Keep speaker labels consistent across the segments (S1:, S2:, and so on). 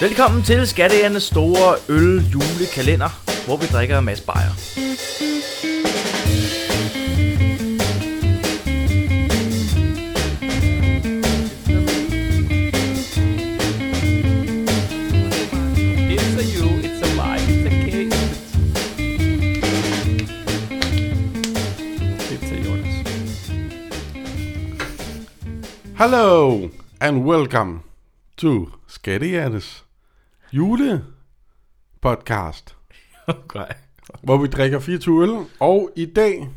S1: Velkommen til Skatteernes store øl julekalender, hvor vi drikker en masse bajer.
S2: It's a you, it's a lie, it's a cake. Det er til Jonas.
S3: Hello and welcome to Skattehjernes jule podcast,
S2: Okay.
S3: hvor vi drikker 24 øl, og i dag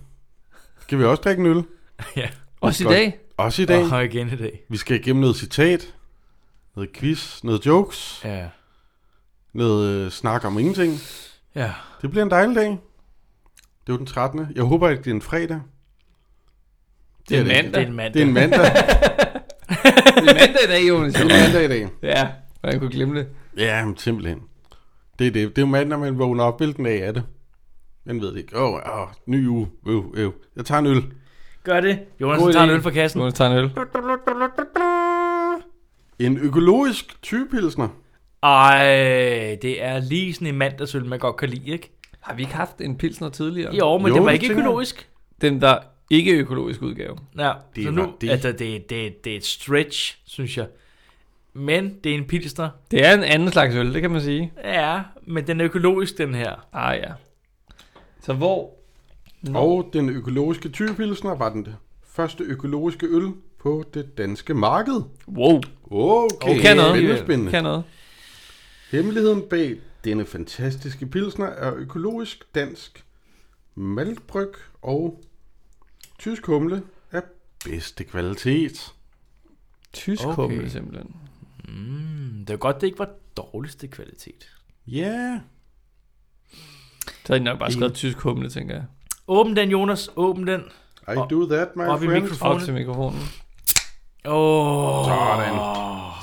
S3: skal vi også drikke en øl.
S2: ja.
S4: Også i
S3: Godt.
S4: dag?
S3: Også i dag.
S2: Og igen i dag.
S3: Vi skal igennem noget citat, noget quiz, noget jokes,
S2: Ja.
S3: noget øh, snak om ingenting.
S2: Ja.
S3: Det bliver en dejlig dag. Det er jo den 13. Jeg håber ikke, det er en fredag. Det,
S4: er en
S3: ikke.
S4: mandag.
S2: en mand.
S3: Det er en mandag.
S4: Det er mandag i dag, Jonas.
S3: det er en mandag i dag.
S4: ja, hvordan kunne jeg glemme det?
S3: Ja, men simpelthen. Det er det. Det er jo mandag, man vågner op. Hvilken dag er det? Man ved det ikke. Åh, oh, oh, ny uge. Øv, øv. Jeg tager en øl.
S1: Gør det. Jonas
S4: God
S1: tager en
S4: idé.
S1: øl fra kassen.
S4: Jonas tager en øl.
S3: En økologisk typepilsner.
S1: Ej, det er lige sådan en mandagsøl, man godt kan lide, ikke?
S4: Har vi ikke haft en pilsner tidligere?
S1: Jo, men
S3: Jo,
S1: det var
S3: det
S1: ikke
S3: tænker jeg.
S1: økologisk.
S4: Den der ikke økologisk udgave.
S1: Ja,
S3: Det
S1: så
S3: var
S1: nu,
S3: det.
S1: Altså, det, det, det er et stretch, synes jeg. Men det er en pilsner.
S4: Det er en anden slags øl, det kan man sige.
S1: Ja, men den er økologisk, den her.
S4: Ah ja. Så hvor?
S3: Og den økologiske typepilsner var den første økologiske øl på det danske marked.
S4: Wow.
S3: Okay,
S4: Okay, noget.
S3: spændende, spændende.
S4: Kan noget.
S3: Hemmeligheden bag denne fantastiske pilsner er økologisk dansk maltbryg og tysk humle af bedste kvalitet.
S4: Tysk
S1: Okay.
S4: okay. humle simpelthen.
S1: Mm, det var godt, det ikke var dårligste kvalitet.
S3: Ja. Yeah.
S4: Så har de nok bare skrevet tysk humle, tænker jeg.
S1: Åbn den, Jonas. Åbn den.
S3: I do that, my
S1: Op i
S3: friend.
S1: mikrofonen.
S4: Op til mikrofonen.
S1: Åh.
S3: Sådan.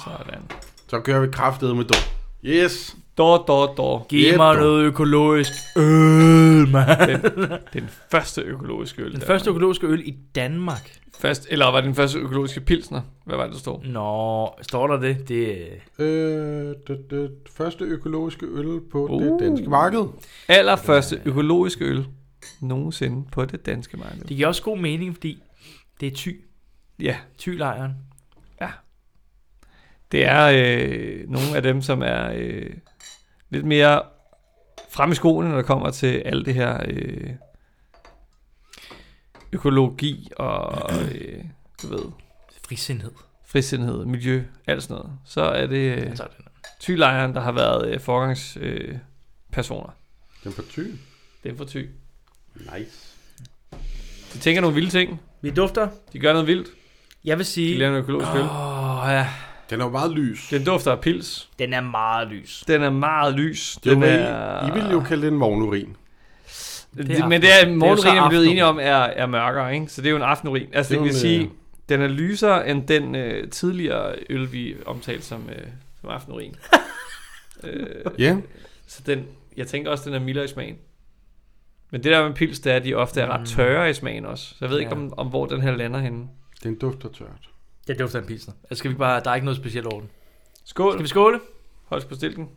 S4: Sådan.
S3: Så kører vi kraftedet med dog. Yes.
S4: Dår, dår, dår.
S1: Giv
S3: Yep,
S1: mig
S3: dog.
S1: noget økologisk øl, mand.
S4: Den, den første økologiske øl.
S1: Den
S4: der.
S1: første økologiske øl i Danmark.
S4: Først, eller var det den første økologiske pilsner? Hvad var det, der stod?
S1: Nå, står der det? Det er
S3: Øh, det, det første økologiske øl på uh.
S4: Uh.
S3: det danske marked.
S4: Allerførste økologiske øl nogensinde på det danske marked.
S1: Det giver også god mening, fordi det er ty.
S4: Ja,
S1: Tylejren.
S4: det er øh, nogle af dem, som er øh, lidt mere frem i skoene, når det kommer til alt det her øh, økologi og øh, du ved,
S1: Frisindhed.
S4: frisindhed, miljø, alt sådan noget. Så er det
S1: Ja.
S3: Altså-
S4: øh, tylejren, der har været øh, forgangspersoner. Øh, personer.
S3: Den på ty.
S4: det er for ty.
S3: Nice.
S4: De tænker nogle vilde ting.
S1: Vi dufter.
S4: De gør noget vildt.
S1: Jeg vil
S4: De
S1: sige...
S4: laver en økologisk øl.
S1: Åh, oh, ja.
S3: Den er jo meget lys.
S4: Den dufter af pils.
S1: Den er meget lys.
S4: Den er meget lys.
S3: Jo,
S4: Den
S3: men
S4: er...
S3: I, I vil jo kalde den vognurin.
S4: Det,
S1: Det er
S4: men det er
S1: Det er jo
S4: morgenurin,
S1: så
S4: er vi blevet
S1: aftenurin.
S4: enige om, er, er mørkere, ikke? Så det er jo en aftenurin. Altså,
S3: Det
S4: det,
S3: er
S4: vil
S3: jo en,
S4: sige, den er lysere end den øh, tidligere øl, vi omtalte som, øh, som aftenurin. øh,
S3: Ja.
S4: så den, jeg tænker også, den er mildere i smagen. Men det der med pils, det er, at de ofte er ret tørre i smagen også. Så jeg ved ikke,
S1: Ja.
S4: om, om hvor den her lander henne.
S3: Den dufter tørt.
S1: Den dufter en pilsner. Altså, skal vi bare... Der er ikke noget specielt over den.
S4: Skål.
S1: Skal vi skåle?
S4: Holds på stilken.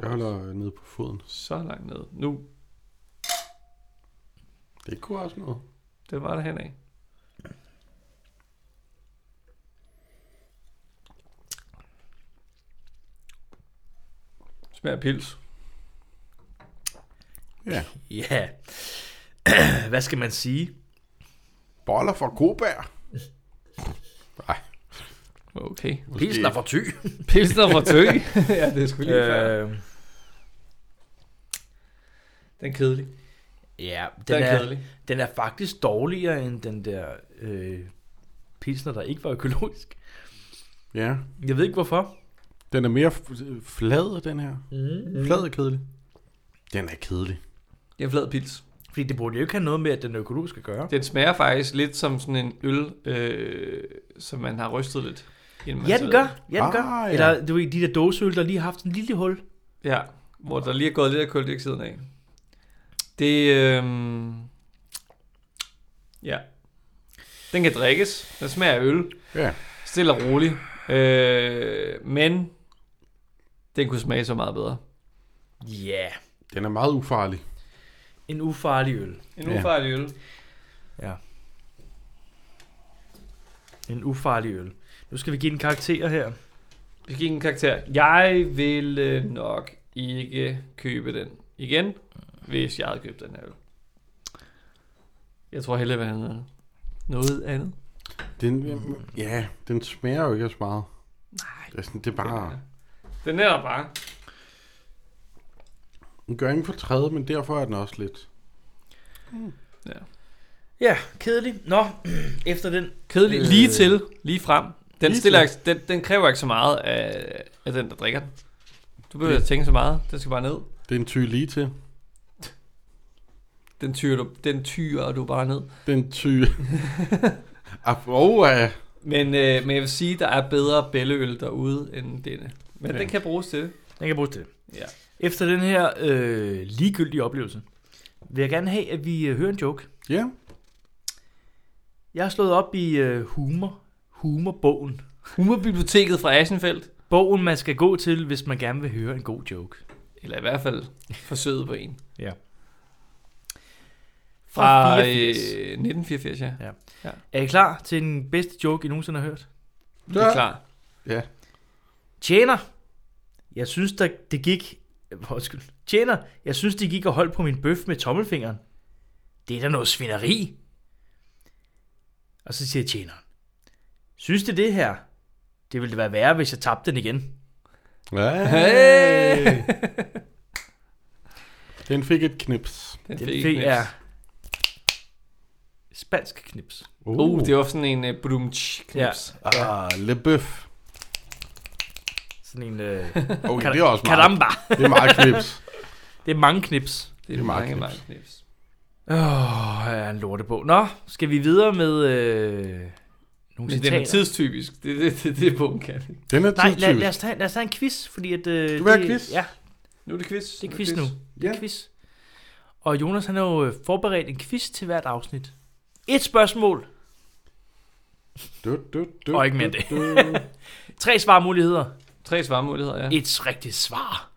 S3: Jeg holder nede på foden.
S4: Så langt ned. Nu,
S3: Det kunne også noget.
S4: det var der henad. Smager af pils.
S3: Ja.
S1: Ja. Hvad skal man sige?
S3: Boller fra Kobær. Nej.
S4: Okay.
S3: måske
S1: Pilsner for ty.
S4: Pilsner fra Tøg. ja, det er sgu lige øh,
S1: øh,
S4: Den er kedelig.
S1: ja, den,
S4: Den,
S1: den,
S4: er,
S1: er,
S4: kedelig.
S1: den er faktisk dårligere end den der øh, pilsner, der ikke var økologisk.
S3: Ja.
S1: Jeg ved ikke hvorfor.
S3: Den er mere f- flad, den her.
S1: Mm.
S4: Mm-hmm.
S3: Flad og kedelig. Den er kedelig.
S4: Det er en flad pils.
S1: Fordi det burde jo ikke have noget med, at den er økologisk at gøre.
S4: Den smager faktisk lidt som sådan en øl, øh, som man har rystet lidt. inden man
S1: Ja,
S4: serverer
S1: den gør. Ja, den
S3: Ah,
S1: gør.
S3: ja.
S1: Eller du ved, de der dåseøl, der lige har haft sådan en lille hul.
S4: Ja, hvor der lige er gået lidt af koldioxiden af. Det, øhm, ja. Den kan drikkes. Den smager af øl.
S3: Ja.
S4: Stille og rolig. Øh, men Den kunne smage så meget bedre.
S1: Ja, yeah.
S3: Den er meget ufarlig.
S1: en ufarlig øl.
S4: En
S3: Ja.
S4: ufarlig øl.
S1: Ja. En ufarlig øl. Nu skal vi give den karakter her.
S4: Vi gik en karakter. Jeg ville nok ikke købe den igen, hvis jeg havde købt den her øl. Jeg tror hellere, hvad han havde. Noget andet.
S3: Den, ja, den smager jo ikke så meget. Nej. Det er, sådan, det er bare...
S4: Den er der bare.
S3: Den gør ingen for træde, men derfor er den også lidt...
S4: Ja.
S1: Ja, kedelig. Nå, efter den.
S4: Kedelig.
S3: Øh.
S4: Øh, lige til. Lige frem. Den,
S3: Lige
S4: lige stiller,
S3: til.
S4: ikke, den, den kræver ikke så meget af, af den, der drikker den. Du behøver ikke tænke så meget. Den skal bare ned.
S3: Det er en ty lige til.
S4: Den tyrer du, den tyrer du bare ned.
S3: Den ty... Ah, oh, ja.
S4: Men, øh, men jeg vil sige, der er bedre bælleøl derude end denne. Men
S3: Ja.
S4: ja. den kan bruges til det.
S1: Den kan bruges til det.
S4: Ja.
S1: Efter den her øh, ligegyldige oplevelse, vil jeg gerne have, at vi øh, hører en joke.
S3: ja.
S1: Jeg har slået op i øh, humor. Humorbogen.
S4: Humorbiblioteket fra Aschenfeldt.
S1: Bogen, man skal gå til, hvis man gerne vil høre en god joke.
S4: Eller i hvert fald forsøget på en.
S1: Ja.
S4: Fra
S1: Fra
S4: øh,
S1: 84.
S4: 1984, ja.
S1: Er I klar til den bedste joke, I nogensinde har hørt?
S4: Det er klar.
S3: Ja.
S1: Tjener! Jeg synes, der, det gik... Øh, Undskyld. Tjener! Jeg synes, det gik og holdt på min bøf med tommelfingeren. Det er da noget svineri. Og så siger tjeneren. Synes det det her? Det ville det være værre, hvis jeg tabte den igen.
S3: ja.
S4: Hey!
S3: Den fik et knips.
S4: Den
S1: Det
S4: fik
S1: fik
S4: knips.
S1: er spansk knips.
S4: Uh, det var sådan en uh, brum knips.
S3: Ah, le bøf.
S1: Sådan en øh,
S3: Okay,
S1: Kar-
S3: det er også meget,
S1: karamba.
S3: det er meget knips.
S1: Det er mange knips.
S4: Det er
S3: meget
S4: mange,
S3: knips.
S4: mange knips.
S1: Åh, oh, jeg er en lortebog. Nå, skal vi videre med øh, nogle
S4: Men den er
S1: citater?
S4: tidstypisk. Det, det, det, det er bogen kan.
S3: Den er
S1: Nej, lad,
S3: tidstypisk.
S1: lad, os tage, lad os tage en quiz, fordi at... Øh,
S3: Skal vi have
S1: det-
S3: quiz?
S1: Ja,
S4: Nu er det quiz.
S1: det er quiz nu.
S3: Ja.
S1: Ja. Quiz. Og Jonas, han har jo øh, forberedt en quiz til hvert afsnit. Et spørgsmål,
S3: Du, du, du,
S1: Og ikke mere end det.
S3: du, du.
S1: tre svarmuligheder,
S4: Tre svarmuligheder, ja.
S1: et rigtigt svar.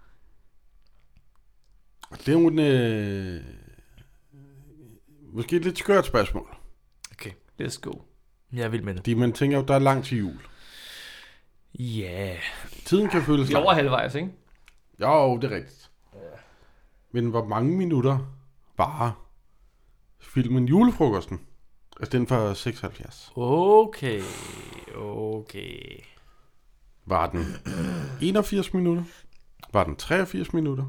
S3: Det er jo en... Øh, måske et lidt skørt spørgsmål.
S4: Let's go.
S1: Jeg vil med det.
S3: Fordi man tænker jo, der er langt til jul.
S1: Ja,
S3: Tiden kan føles
S4: Vi er over
S3: lang.
S4: halvvejs, ikke?
S3: Jo, det er rigtigt. Men hvor mange minutter varer filmen Julefrokosten? Altså den fra 76.
S1: okay, okay.
S3: Var den 81 minutter? Var den 83 minutter?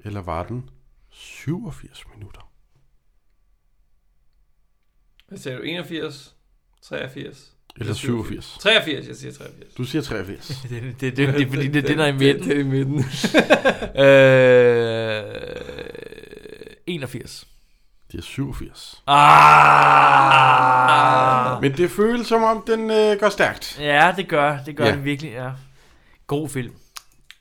S3: Eller var den 87 minutter?
S4: Hvad siger du? 81? 83?
S3: Eller 87?
S4: 83, jeg siger 83.
S3: Du siger 83.
S1: Det, det, det, det, det er fordi, det er det, der er i midten.
S4: Det er i midten.
S1: Øh, 81.
S3: Det er 87.
S1: Ah!
S3: Men det føles som om, den øh, går stærkt.
S1: Ja, det gør, det gør
S3: Ja.
S1: ja. det virkelig, ja. God film.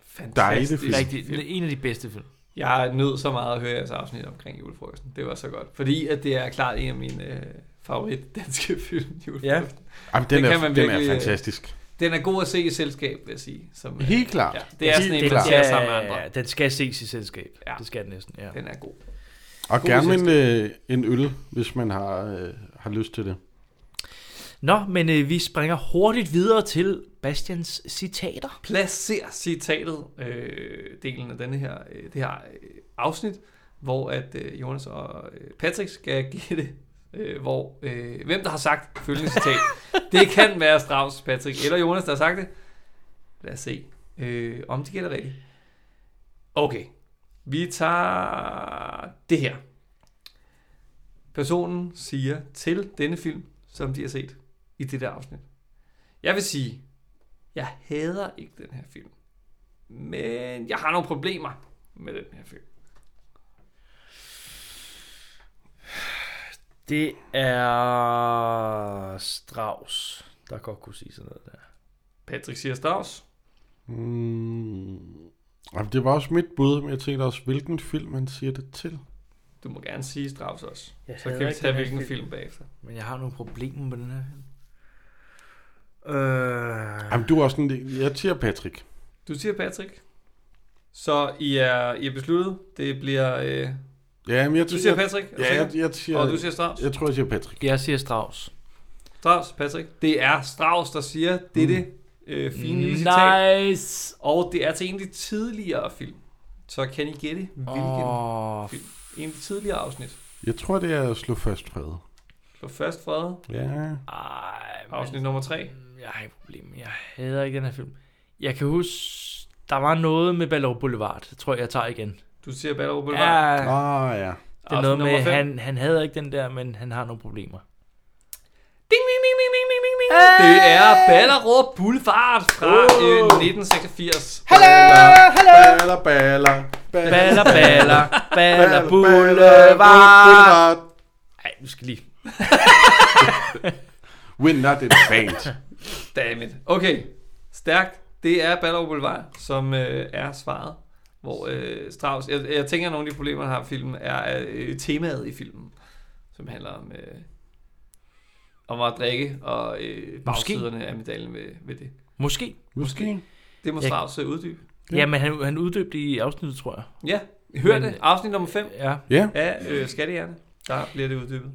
S4: Fantastisk.
S3: film.
S1: Rigtig, en af de bedste film.
S4: Jeg nød så meget at høre jeres afsnit omkring julefrokosten. Det var så godt. Fordi at det er klart en af mine øh, favorit danske film, julefrokosten. Ja.
S3: Jamen, den,
S4: Det
S3: er,
S4: kan man
S3: den er
S4: virkelig, øh,
S3: fantastisk.
S4: Den er god at se i selskab, vil jeg sige. Som, øh,
S3: Helt klart.
S4: Ja, det er
S3: Helt
S4: sådan en,
S1: Den
S4: man
S3: klart.
S4: ser
S1: skal,
S4: sammen med andre.
S1: den skal ses i selskab.
S4: Ja.
S1: Ja. Det skal den næsten, ja.
S4: Den er god.
S3: Og
S4: God
S3: gerne en, øh, en øl, hvis man har, øh, har lyst til det.
S1: Nå, men øh, vi springer hurtigt videre til Bastians citater.
S4: placer citatet, øh, delen af denne her, øh, det her øh, afsnit, hvor at øh, Jonas og øh, Patrick skal gætte, øh, hvor, øh, hvem der har sagt følgende citat. det kan være Strauss, Patrick eller Jonas, der har sagt det. Lad os se, øh, om de gætter rigtigt. Okay, vi tager det her. Personen siger til denne film, som de har set i det der afsnit. Jeg vil sige, jeg hader ikke den her film. Men jeg har nogle problemer med den her film.
S1: Det er Strauss, der godt kunne sige sådan noget der.
S4: Patrick siger Strauss.
S3: Mm. Jamen, det var også mit bud, men jeg tænkte også, hvilken film man siger det til.
S4: Du må gerne sige Strauss også.
S1: Jeg
S4: Så
S1: hader
S4: kan vi
S1: ikke
S4: tage
S1: den her
S4: hvilken film.
S1: film.
S4: film bagefter.
S1: Men jeg har nogle problemer med den her film. Øh...
S3: Jamen, du er også sådan, jeg siger Patrick.
S4: Du siger Patrick. Så I er, I er besluttet. Det bliver... Øh,
S3: Ja, men jeg
S4: du
S3: tror-
S4: siger
S3: jeg-
S4: Patrick, er du
S3: Ja,
S4: sikker?
S3: jeg, jeg, siger,
S4: og du siger Strauss.
S3: jeg tror, jeg siger Patrick.
S1: Jeg siger Strauss.
S4: Strauss, Patrick. Det er Strauss, der siger
S3: Mm.
S4: dette øh, fine
S1: Mm,
S4: lille citat.
S1: Nice.
S4: Og det er til en af de tidligere film. Så kan I gætte, hvilken oh.
S1: Åh, oh,
S4: film? En af de tidligere afsnit.
S3: Jeg tror, det er at slå først fred.
S4: Slå først fred.
S3: Ja.
S1: ej, men-
S4: Afsnit nummer 3.
S1: Mm, Jeg har et problem. Jeg hader ikke den her film. Jeg kan huske, der var noget med Ballov Boulevard. Det tror jeg, jeg tager igen.
S4: Du siger Ballerup
S1: Ja,
S4: Boulevard.
S1: det
S3: Ah, ja.
S1: er
S4: Afsnit
S1: noget
S4: nummer
S1: med,
S4: fem.
S1: han, han hader ikke den der, men han har nogle problemer.
S4: Ding, ding, ding, ding, ding, ding, ding, ding. Det er Ballerup Boulevard fra øh, 1986.
S3: Hallo! Baller, baller, baller,
S1: Baller, baller, baller,
S3: baller,
S1: boulevard.
S3: boulevard.
S1: Ej, du skal lige.
S3: We're not in band.
S4: Dammit. Okay, stærkt. Det er Ballerup Boulevard, som øh, er svaret. Hvor øh, Strauss, jeg, jeg tænker, at nogle af de problemer, han har i filmen, er øh, temaet i filmen, som handler om, øh, om at drikke, og øh, bagsiderne af medaljen ved, ved det.
S1: Måske.
S3: Måske.
S4: Det må
S1: Jeg-
S4: Strauss øh, uddybe.
S1: Ja, ja men han, han uddøbte i afsnittet, tror jeg.
S4: Ja, hør
S1: Men-
S4: det. Afsnit nummer 5
S1: Ja.
S3: Ja,
S4: af øh, Skattehjerne. Der bliver det uddybet.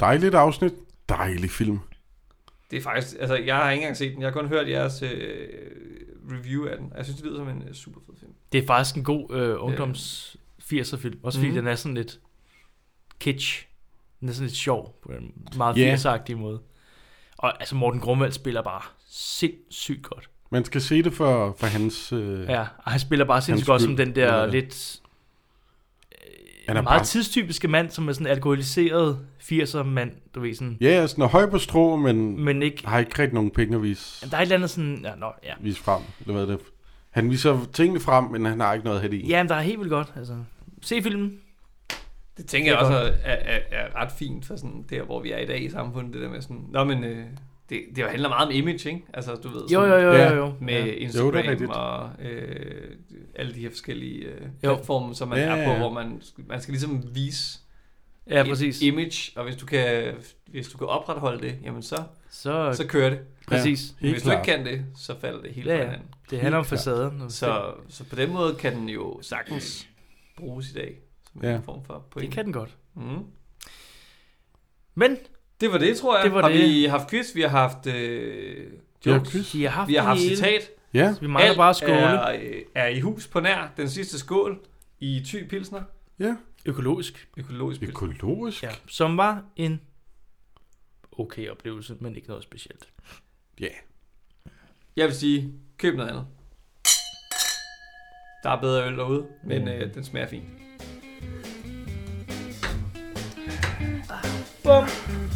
S3: dejligt afsnit. Dejlig film.
S4: Det er faktisk, altså jeg har ikke engang set den, jeg har kun hørt jeres øh, review af den. Jeg synes, det lyder som en øh, super fed film.
S1: Det er faktisk en god øh, ungdoms 80'er film. Også fordi
S4: Mhm.
S1: mm. den er sådan lidt kitsch. Den er sådan lidt sjov på en meget
S3: Ja.
S1: 80'er-agtig måde. Og altså Morten Grumvald spiller bare sindssygt godt.
S3: Man skal se det for, for hans... Øh,
S1: Ja, og han spiller bare sindssygt godt som
S3: skyld.
S1: den der
S3: Ja.
S1: ja. lidt øh,
S3: Han er
S1: meget
S3: bare-
S1: tidstypiske mand, som er sådan en alkoholiseret 80'er mand, du ved sådan.
S3: Ja, sådan er høj på strå, men, men
S1: Men ikke,
S3: har ikke rigtig nogen penge at vise,
S1: der er et eller andet sådan, ja, nå, ja.
S3: vise frem. Eller hvad er det? Han viser tingene frem, men han har ikke noget at have det i.
S1: Ja, men der er helt vildt godt, altså. Se filmen.
S4: Det tænker jeg
S1: Det er
S4: også er, er, er ret fint for sådan der, hvor vi er i dag i samfundet, det der med sådan, nå men, øh, det, det jo handler meget om image, ikke? Altså, du ved,
S1: Jo,
S4: sådan,
S1: jo, jo,
S3: Ja.
S1: jo, jo.
S4: med
S1: ja.
S3: Jo, det
S4: Instagram
S3: er rigtigt.
S4: jo, og øh, alle de her forskellige øh, platforme, som man
S3: Ja,
S4: ja,
S3: ja,
S4: er på,
S3: ja.
S4: hvor man, man skal ligesom vise
S1: ja,
S4: et
S1: præcis.
S4: image, og hvis du kan, hvis du kan opretholde det, jamen så,
S1: Så,
S4: så kører det.
S1: præcis.
S3: Helt
S4: Hvis du ikke
S3: klart.
S4: kan det, så falder det hele
S1: Ja,
S4: på
S1: ja.
S4: hinanden.
S1: Det handler om
S3: klart.
S1: facaden. og-
S4: Så, så på den måde kan den jo sagtens bruges i dag som
S3: Ja.
S4: en form for
S1: det, det
S4: point.
S1: kan den godt.
S4: Mm.
S1: Men
S4: Det var det, tror jeg.
S1: Det var
S4: har
S1: det.
S4: vi haft quiz, vi har haft øh, jokes,
S3: quiz.
S1: vi har haft,
S4: vi har
S1: det
S4: haft
S1: hele.
S4: citat.
S3: Ja,
S1: Vi mangler bare at skåle.
S4: Er, øh, er i hus på nær den sidste skål i Thy Pilsner.
S3: ja.
S1: Økologisk.
S4: Økologisk pilsner.
S3: Økologisk.
S1: Ja. Som var en okay oplevelse, men ikke noget specielt.
S3: Ja.
S4: Jeg vil sige, køb noget andet. Der er bedre øl derude, men øh, den smager fint. Bum.